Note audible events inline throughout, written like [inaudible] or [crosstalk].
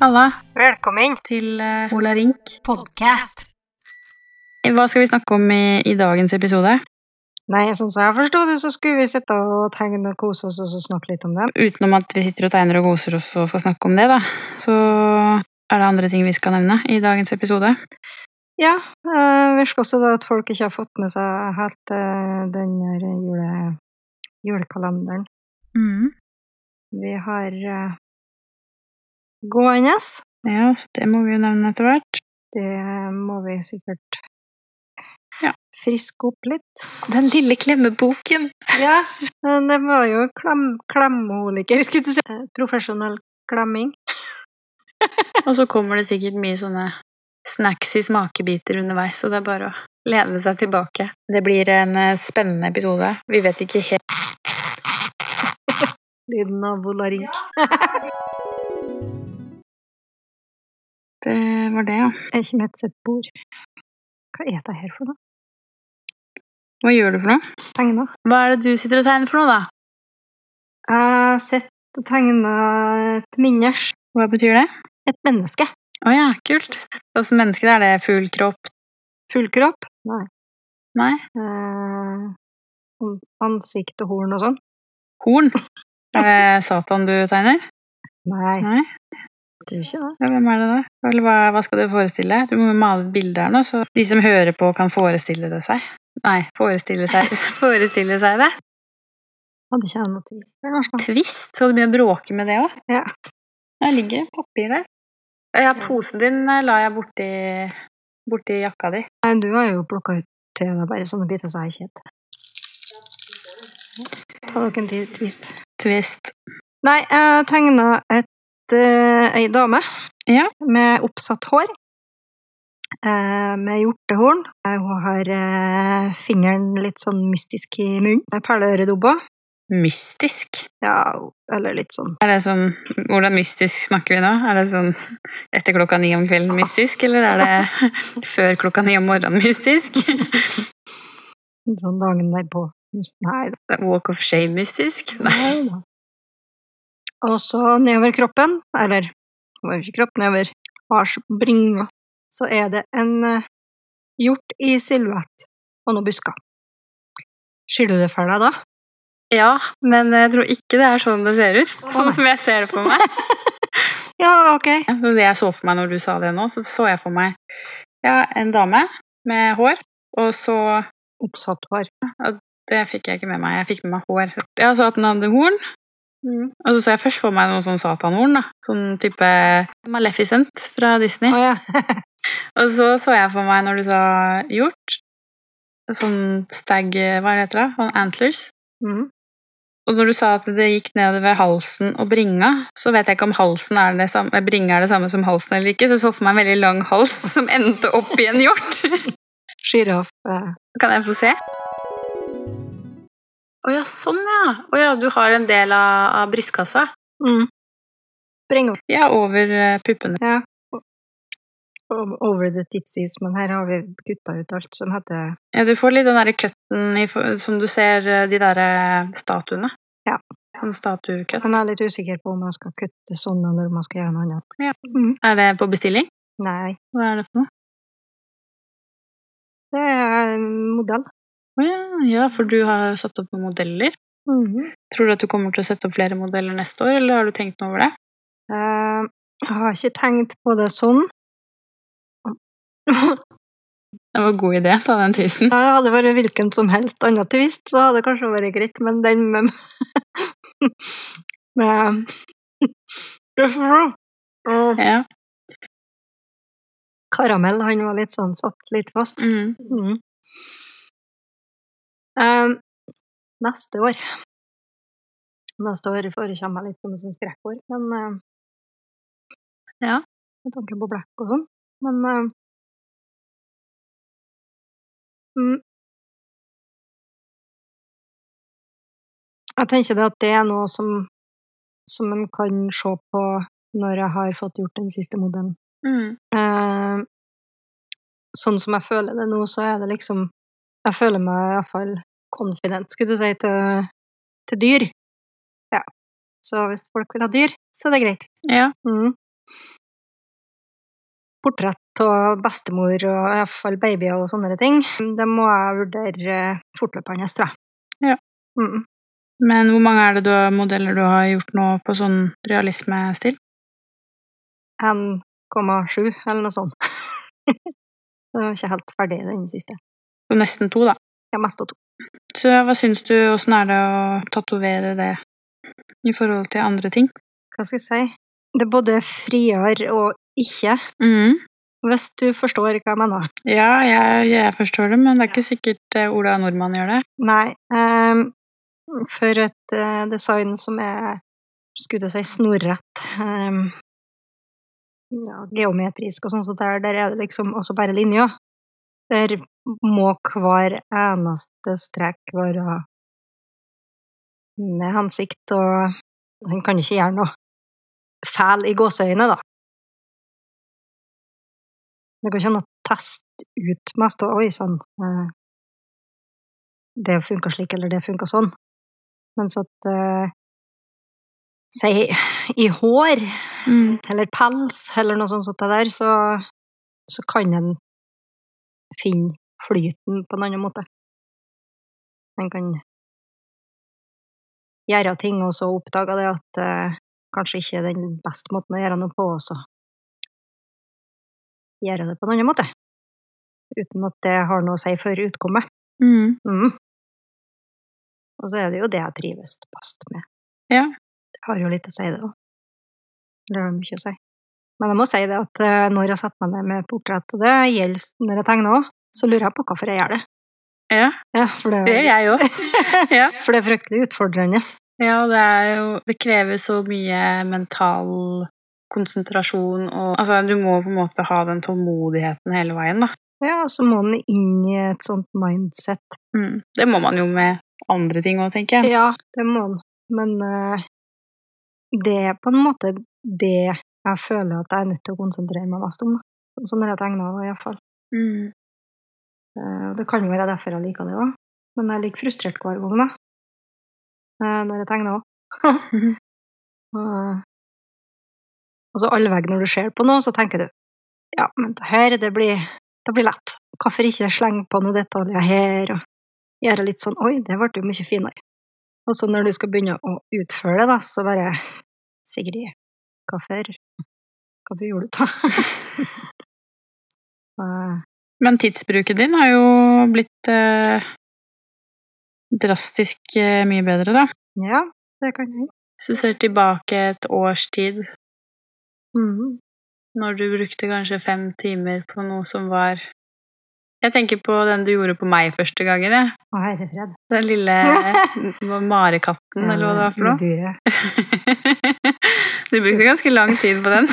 Halla Velkommen. til eh, Ola Rink. Podcast. Hva skal vi snakke om i, i dagens episode? Nei, sånn som jeg forsto det, så skulle vi sitte og tegne og kose oss og så snakke litt om dem. Utenom at vi sitter og tegner og koser oss og skal snakke om det, da, så er det andre ting vi skal nevne i dagens episode. Ja, øh, virker også da at folk ikke har fått med seg helt øh, den her jule, julekalenderen. Mm. Vi har øh, gående. Ja, så det må vi jo nevne etter hvert. Det må vi sikkert Ja. friske opp litt. Den lille klemmeboken. Ja, men det var jo klem, klemmeholiker, skulle du si. Eh, Profesjonell klemming. [laughs] Og så kommer det sikkert mye sånne snacks i smakebiter underveis, så det er bare å lene seg tilbake. Det blir en eh, spennende episode. Vi vet ikke helt Lyden av volarink. Det var eh, det, ja. Jeg kommer til sitt bord. Hva er det her for noe? Hva gjør du for noe? Tegna. Hva er det du sitter og tegner for noe, da? Jeg sitter og tegner et minnes. Hva betyr det? Et menneske. Å ja, kult. Åssen menneske det er det? Full kropp? Full kropp. Nei. Nei. Eh, an- ansikt og horn og sånn. Horn? Er det Satan du tegner? Nei. Nei. Jeg tror ikke det. Ja, hvem er det da? Eller hva, hva skal det forestille? Du må male et bilde her nå, så de som hører på kan forestille det seg. Nei, forestille seg, [laughs] forestille seg det. Hadde ikke jeg noe til å vise deg, kanskje. Tvist? Skal du begynne å bråke med det òg? Ja. Der ligger det papir der. Ja, posen din eh, la jeg borti, borti jakka di. Nei, du har jo plukka ut til deg bare sånne biter som jeg ikke heter. Ta dere en ti- twist. Twist. Nei, jeg tegna et eh, ei dame Ja. med oppsatt hår. eh, med hjortehorn. Eh, Hun har eh, fingeren litt sånn mystisk i munnen. Med perleøredobber. Mystisk. Ja, eller litt sånn Er det sånn, Hvordan mystisk snakker vi nå? Er det sånn etter klokka ni om kvelden mystisk, eller er det [laughs] før klokka ni om morgenen mystisk? [laughs] sånn dagen derpå. Nei da. Walk of shame mystisk? Nei. nei da. Og så nedover kroppen, eller det var jo ikke kropp, nedover arsbringa, så er det en eh, hjort i silhuett og noen busker. Skiller du det for deg da? Ja, men jeg tror ikke det er sånn det ser ut. Sånn som jeg ser det på meg. Ja, ok. Ja, så [laughs] Det jeg så for meg når du sa det nå, så så jeg for meg ja, en dame med hår, og så oppsatt hår. Det fikk jeg ikke med meg. Jeg fikk med meg hår. Jeg så at den hadde horn, Mm. og så så jeg først for meg noe sånn satanhorn. da. Sånn type Maleficent fra Disney. Å ja. Og så så jeg for meg når du sa hjort, sånn stag, hva heter det, sånn antlers. Mm. Og når du sa at det gikk nedover halsen og bringa, så vet jeg ikke om halsen er det samme, bringa er det samme som halsen eller ikke, så jeg så for meg en veldig lang hals [laughs] som endte opp i en hjort. [laughs] Sjiraff. eh, Kan jeg få se? Å ja, sånn ja. Å ja, du har en del av, av brystkassa. Mm. Bring opp Ja, over eh, puppene. o- over the titsies, men her har vi kutta ut alt som heter Ja, du får litt den derre cutten i, for- som du ser eh, de derre statuene. Ja. Sånn statuekutt. Men jeg er litt usikker på om jeg skal kutte sånn, eller om jeg skal gjøre noe annet. Mm. Er det på bestilling? Nei, Hva er det for noe? det er en modell. Å ja, ja, for du har satt opp noen modeller. Mhm. Tror du at du kommer til å sette opp flere modeller neste år, eller har du tenkt noe over det? Eh, jeg har ikke tenkt på det sånn. Det var en god idé, ta den tisten. Ja, det hadde vært hvilken som helst annen tvist, så hadde det kanskje vært greit, men den med med Mm. Ja. Karamell, han var litt sånn satt litt fast. Mm. Mm. Ehm, neste år Neste år forekommer jeg litt som et sånt skrekkår, men eh, Ja. Med tanke på blekk og sånn, men eh, mm. Jeg tenker det at det er noe som, som en kan se på når jeg har fått gjort den siste modellen. Mm. Eh, sånn som jeg føler det nå, så er det liksom Jeg føler meg iallfall confident, skulle du si, til, til dyr. Ja. Så hvis folk vil ha dyr, så er det greit. Ja. Mm. portrett av bestemor og iallfall babyer og sånne ting. Det må jeg vurdere fortløpende, tror jeg. Ja. Mm. Men hvor mange er det du, modeller du har gjort nå på sånn realismestil? 1,7 eller noe sånt. [laughs] Jeg er ikke helt ferdig i den siste. Så nesten to, da. Jeg har mest av to. Så hva syns du, åssen er det å tatovere det i forhold til andre ting? Hva skal jeg si? Det er både friere og ikke, Mm. hvis du forstår hva jeg mener. Ja, jeg, jeg forstår det, men det er ikke sikkert eh, Ola Nordmann gjør det. Nei, ehm, for et eh, design som er, skulle jeg si, snorrett, ehm, ja, geometrisk og sånn, så der, der er det liksom også bare linjer. Der må hver eneste strek være med hensikt, og han kan ikke gjøre noe fæl i gåseøyne, da. Det går ikke an å teste ut mest, og oi, sånn, eh, det funka slik, eller det funka sånn. Mens at eh, Si i hår, Mm. eller pels, eller noe sånt som det der, så, så kan en finne flyten på en annen måte. En kan gjøre ting, og så oppdage det at eh, kanskje ikke er den beste måten å gjøre noe på, og så gjøre det på en annen måte. Uten at det har noe å si for utkommet. Mm. Mm. Og så er det jo det jeg trives best med. Ja. Det har jo litt å si, det òg. Det har mye å si. Men jeg må si det at eh, når jeg setter meg ned med portrett, og det gjelder når jeg tegner òg, så lurer jeg på hvorfor jeg gjør det. Ja. Ja, for, Det gjør det, jeg òg. [laughs] ja. for det er fryktelig utfordrende. ja, og det er jo Det krever så mye mental konsentrasjon og Altså, du må på en måte ha den tålmodigheten hele veien, da. Ja, og så må en inn i et sånt mindset. Mm. Det må man jo med andre ting òg, tenker jeg. Ja, det må en. Men eh, det er på en måte det jeg føler at jeg er nødt til å konsentrere meg mest om. da. Sånn når jeg tegner, i hvert fall. Mm. Eh, Og det kan jo være derfor jeg liker det òg. Men jeg ligger frustrert hver gang, da. Eh, Når jeg tegner òg. [laughs] Og så all vei når du ser på noe, så tenker du ja, men det her, det blir, det blir lett. Hvorfor ikke slenge på noen detaljer her, og gjøre litt sånn oi, det ble jo mye finere. Og så når du skal begynne å utføre det, da, så bare Sigrid, hvorfor Hvorfor gjorde du det? [laughs] Eh, Men tidsbruken din har jo blitt eh, drastisk eh, mye bedre, da. Ja, det kan hende. Hvis du ser tilbake et års tid, Mhm. når du brukte kanskje fem timer på noe som var Jeg tenker på den du gjorde på meg første gangen, jeg. Å, herre fred. Den [laughs] lille marekatten, eller hva det var for noe. Udyret. [laughs] Du brukte ganske lang tid på den.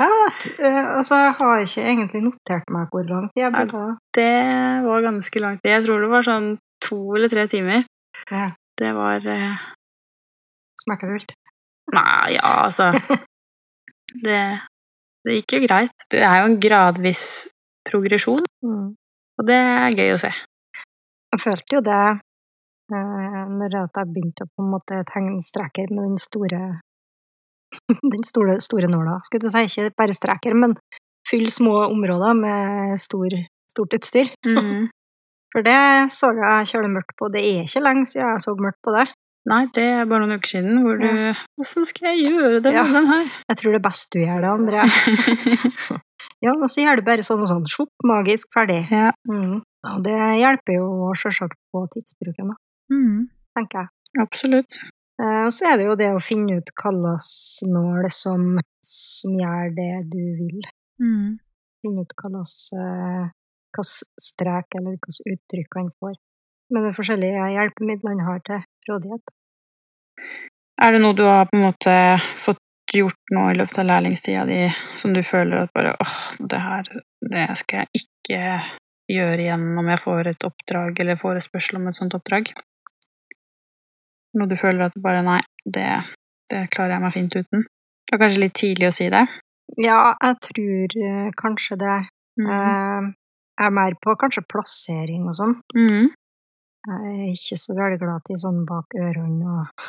Jeg vet, eh, altså, jeg har ikke egentlig notert meg hvor langt jeg Nei. burde ha. Det var ganske lang tid. Jeg tror det var sånn to eller tre timer. Ja. Det var eh, Smertefullt. Nei, ja, altså [laughs] det, det gikk jo greit. Det er jo en gradvis progresjon, og det er gøy å se. Jeg følte jo det eh, når jeg- at jeg begynte å på en måte tegne streker med den store [laughs] den store, store nåla. Skulle til å si ikke bare streker, men fyll små områder med stor, stort utstyr. Mhm. For det så jeg kjølig mørkt på. Det er ikke lenge siden jeg så mørkt på det. [laughs] Nei, det er bare noen uker siden hvor du Åssen skal jeg gjøre det med Ja. den her? Jeg tror det er best du gjør det, Andrea. Ja, og så gjør det bare sånn og sånn. Svopp, magisk, ferdig. Ja. Mm. Og det hjelper jo sjølsagt på tidsbruken, da, Mhm. tenker jeg. Absolutt. Eh, og så er det jo det å finne ut hva slags nål som, som gjør det du vil. Mhm. Finne ut hva slags eh, hva slags strek eller hva slags uttrykk han får. Med de forskjellige hjelpemidlene han har til rådighet. Er det noe du har på en måte fått gjort nå i løpet av lærlingstida di som du føler at bare åh, det her det skal jeg ikke gjøre igjen om jeg får et oppdrag eller forespørsel om et sånt oppdrag? Noe du føler at du bare nei, det, det klarer jeg meg fint uten? Det er kanskje litt tidlig å si det? Ja, jeg tror eh, kanskje det Mm. eh, er mer på kanskje plassering og sånn. Mm. Jeg er ikke så veldig glad til sånn bak ørene og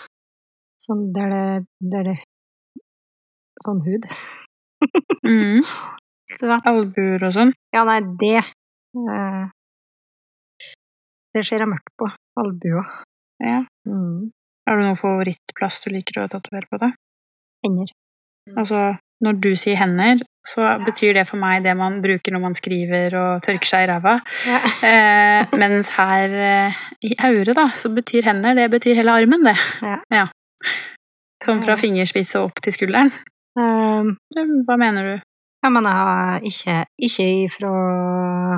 sånn der det, der det Sånn hud. Mm. Svett. Albuer og sånn. Ja, nei, det eh, Det ser jeg mørkt på. Albuer. Ja. Mm. Har du noen favorittplass du liker å tatovere på deg? Hender. Altså, når du sier hender, så betyr det for meg det man bruker når man skriver og tørker seg i ræva. Ja. Eh, mens her eh, i auret, da, så betyr hender det betyr hele armen, det. Ja. Sånn fra Ja. fingerspiss og opp til skulderen. Um, Eller Hva mener du? ja, men jeg har ikke, ikke ifra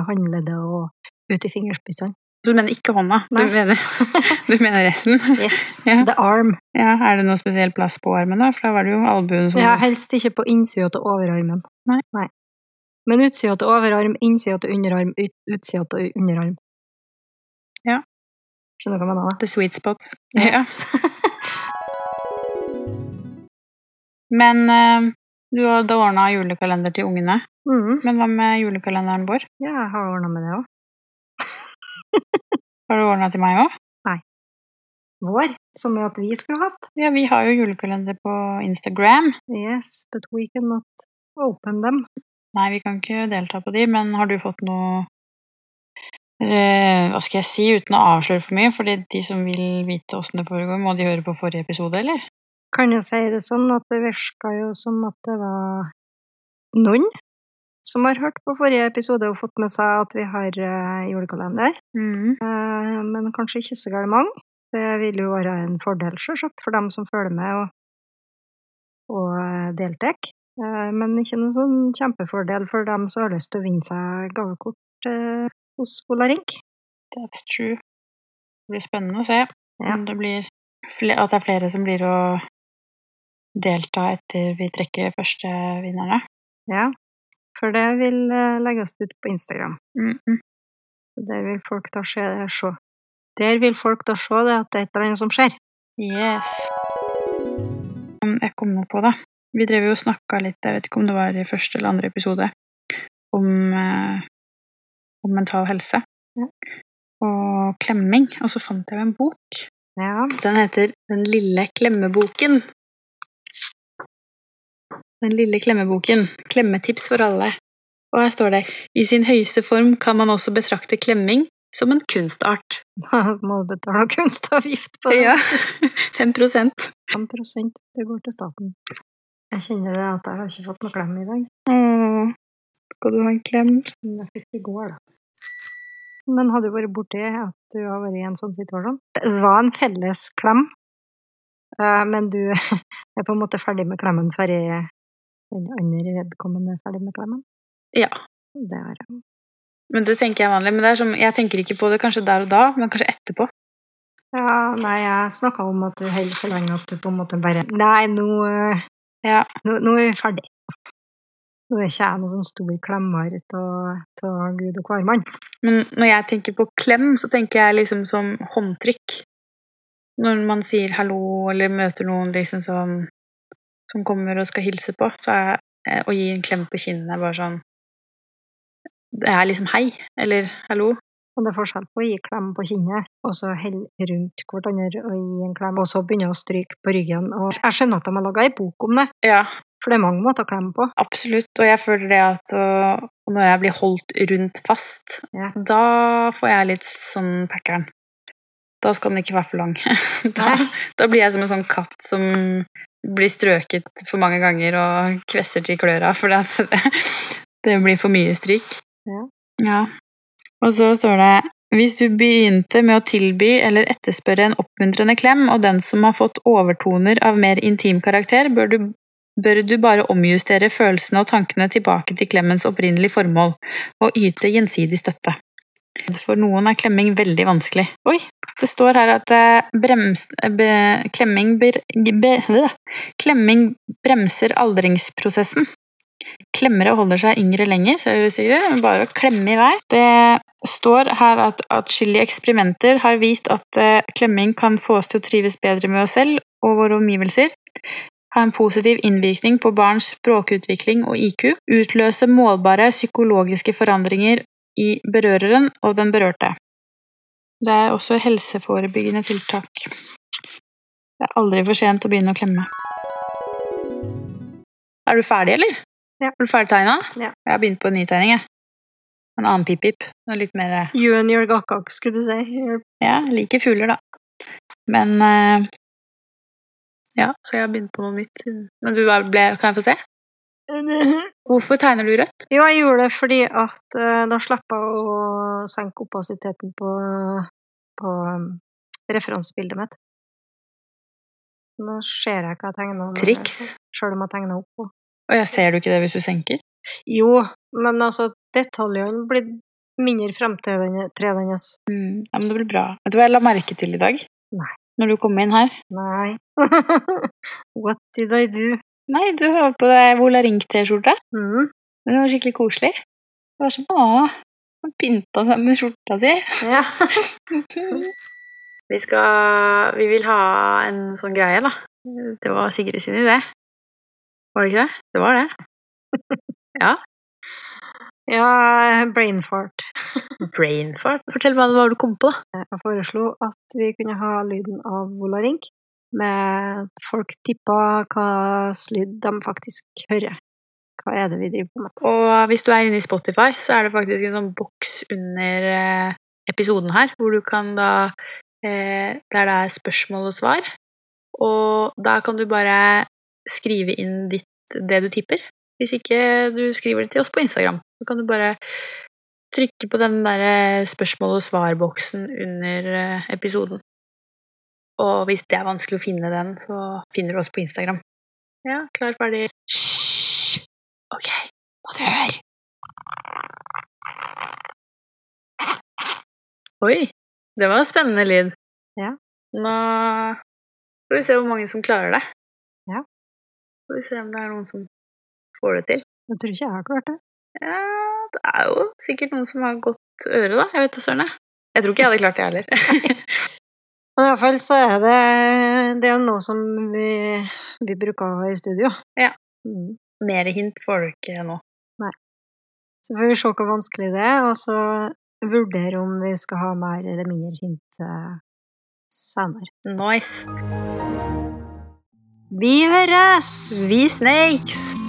håndleddet og ut i [laughs] fingerspissene. Du mener ikke hånda, du Nei. mener, [laughs] du mener [laughs] resten. Yes. Ja. The arm. Ja, Er det noe spesiell plass på armen, da? For da var det jo albuen som Ja, helst ikke på innsida til overarmen. Nei. Men utsida til overarm, innsida til underarm, ut, utsida til underarm. Ja. Skjønner du hva jeg mener? da? The sweet spots. Ja. Yes. [laughs] Men eh, du hadde ordna julekalender til ungene. mm. Men hva med julekalenderen vår? Ja, jeg har ordna med det òg. Har du ordna til meg òg? Vår, som er at vi skulle hatt. Ja, vi har jo julekalender på Instagram. Yes, but we cannot open them. Nei, vi kan ikke delta på de, men har du fått noe eh, Hva skal jeg si, uten å avsløre for mye? Fordi de som vil vite åssen det foregår, må de høre på forrige episode, eller? Kan jeg si det sånn at det virka jo som at det var noen som har hørt på forrige episode og fått med seg at vi har eh, julekalender, Mm. eh, men kanskje ikke så galt mange. Det vil jo være en fordel, sjølsagt, for dem som følger med og, og eh, deltar. Eh, men ikke noen sånn kjempefordel for dem som har lyst til å vinne seg gavekort eh, hos Polarink. That's true. Det blir spennende å se Ja. om det blir fle- at det er flere som blir å delta etter vi trekker første vinnerne. Ja, for det vil eh, legges ut på Instagram. Mm. Der vil folk da se det se. Der vil folk da se det at det er et eller annet som skjer. Yes. Um, Jeg kom nå på det. Vi drev jo og snakka litt, jeg vet ikke om det var i første eller andre episode, om, eh, om mental helse. Ja. Og klemming. Og så fant jeg jo en bok. Ja. [laughs] Den heter Den lille klemmeboken. Den lille klemmeboken. Klemmetips for alle. Og her står det I sin høyeste form kan man også betrakte klemming som en kunstart. Da må du betale kunstavgift på det. [laughs] Ja, 5 5 det går til staten. Jeg kjenner det at jeg har ikke fått noe klem i dag. Åh, Mm. Skal du ha en klem? Men jeg fikk i går, da. Men har du vært borti at du har vært i en sånn situasjon? Det var en felles klem, eh, men du [laughs] er på en måte ferdig med klemmen før jeg- den andre vedkommende er ferdig med klemmen? Ja. Det har jeg. Men det tenker jeg vanlig. Men det er som, jeg tenker ikke på det kanskje der og da, men kanskje etterpå. Ja, nei, jeg snakka om at du holder så lenge at du på en måte bare Nei, nå, eh, Ja. nå, nå er vi ferdig. Nå er ikke jeg noen sånn stor klemmer av Gud og hvermann. Men når jeg tenker på klem, så tenker jeg liksom som håndtrykk. Når man sier hallo eller møter noen liksom som, som kommer og skal hilse på, så er eh, å gi en klem på kinnet bare sånn Det er liksom hei, eller hallo. Og det er forskjell på å gi klem på kinnet, og så holde rundt hverandre og gi en klem, og så begynne å stryke på ryggen. Og jeg skjønner at de har laga ei bok om det, Ja, for det er mange måter å klemme på. absolutt. Og jeg føler det at og, og når jeg blir holdt rundt fast, Ja. da får jeg litt sånn packeren. Da skal den ikke være for lang. [laughs] da, Nei. da blir jeg som en sånn katt som blir strøket for mange ganger og kvesser til kløra fordi at [laughs] det, det blir for mye stryk. Ja. ja. Og så står det hvis du begynte med å tilby eller etterspørre en oppmuntrende klem, og den som har fått overtoner av mer intim karakter, bør du, bør du bare omjustere følelsene og tankene tilbake til klemmens opprinnelige formål, og yte gjensidig støtte. For noen er klemming veldig vanskelig. Oi, det står her at eh, brems, eh, be, klemming, ber, be, øh, klemming bremser aldringsprosessen. Klemmere holder seg yngre lenger, ser du Sigrid. Bare å klemme i vei. Det står her at atskillige eksperimenter har vist at eh, klemming kan få oss til å trives bedre med oss selv og våre omgivelser. Ha en positiv innvirkning på barns språkutvikling og IQ. Utløse målbare psykologiske forandringer i berøreren og den berørte. Det er også helseforebyggende tiltak. Det er aldri for sent å begynne å klemme. Er du ferdig, eller? Ja. Er du ferdigtegna? Ja. Jeg har begynt på en ny tegning. Jeg. En annen pip-pip. Den er Litt mer eh, You and your gakak, skulle du si. Your- Ja, jeg liker fugler, da. Men eh, Ja, så jeg har begynt på noe nytt siden Men du er- ble Kan jeg få se? Hvorfor tegner du rødt? Jo, jeg gjorde det fordi at eh, da slapp jeg å senke opasiteten på, på um, referansebildet mitt. Nå ser jeg hva jeg tegner. men- Triks. Selv om jeg tegner oppå. Og jeg ser du ikke det hvis du senker? Jo, men altså, detaljene blir mindre fremtredende. Mm. Ja, men det blir bra. Vet du hva jeg la merke til i dag? Nei. Når du kom inn her? Nei. [laughs] What did I do? Nei, du har på deg Volaring-T-skjorte. Mm. Den var skikkelig koselig. Det var sånn Å, han pynta seg med skjorta si. Ja. [laughs] Vi skal Vi vil ha en sånn greie, da. Det var Sigrid sin idé. Var det ikke det? Det var det. ja, brain fart. Brainfart. Fortell meg hva du kom på, da. Jeg foreslo at vi kunne ha lyden av volarink, med at folk tippa hva slags lyd de faktisk hører. Hva er det vi driver på med? Og hvis du er inne i Spotify, så er det faktisk en sånn boks under eh, episoden her, hvor du kan da eh, Der det er spørsmål og svar. Og da kan du bare skrive inn ditt, det du tipper. Hvis ikke du skriver det til oss på Instagram, så kan du bare trykke på den der eh, spørsmål og svar-boksen under eh, episoden. Og hvis det er vanskelig å finne den, så finner du oss på Instagram. Ja, klar, ferdig. Hysj! Ok. Må du høre? Oi, det var en spennende lyd. Ja. Nå skal vi se hvor mange som klarer det. Ja. Skal vi se om det er noen som får det til. Jeg tror ikke jeg har klart det. Ja, det er jo sikkert noen som har godt øre, da. Jeg vet da søren. jeg. Jeg tror ikke jeg hadde klart det, jeg heller. [laughs] Men iallfall så er det, det er noe som vi, vi bruker å ha i studio. Ja. Mm. Mer hint får du ikke nå. Så får vi se hvor vanskelig det er, og så vurdere om vi skal ha mer eller mindre hint eh, senere. Nice. Vi høres! Vi snakes!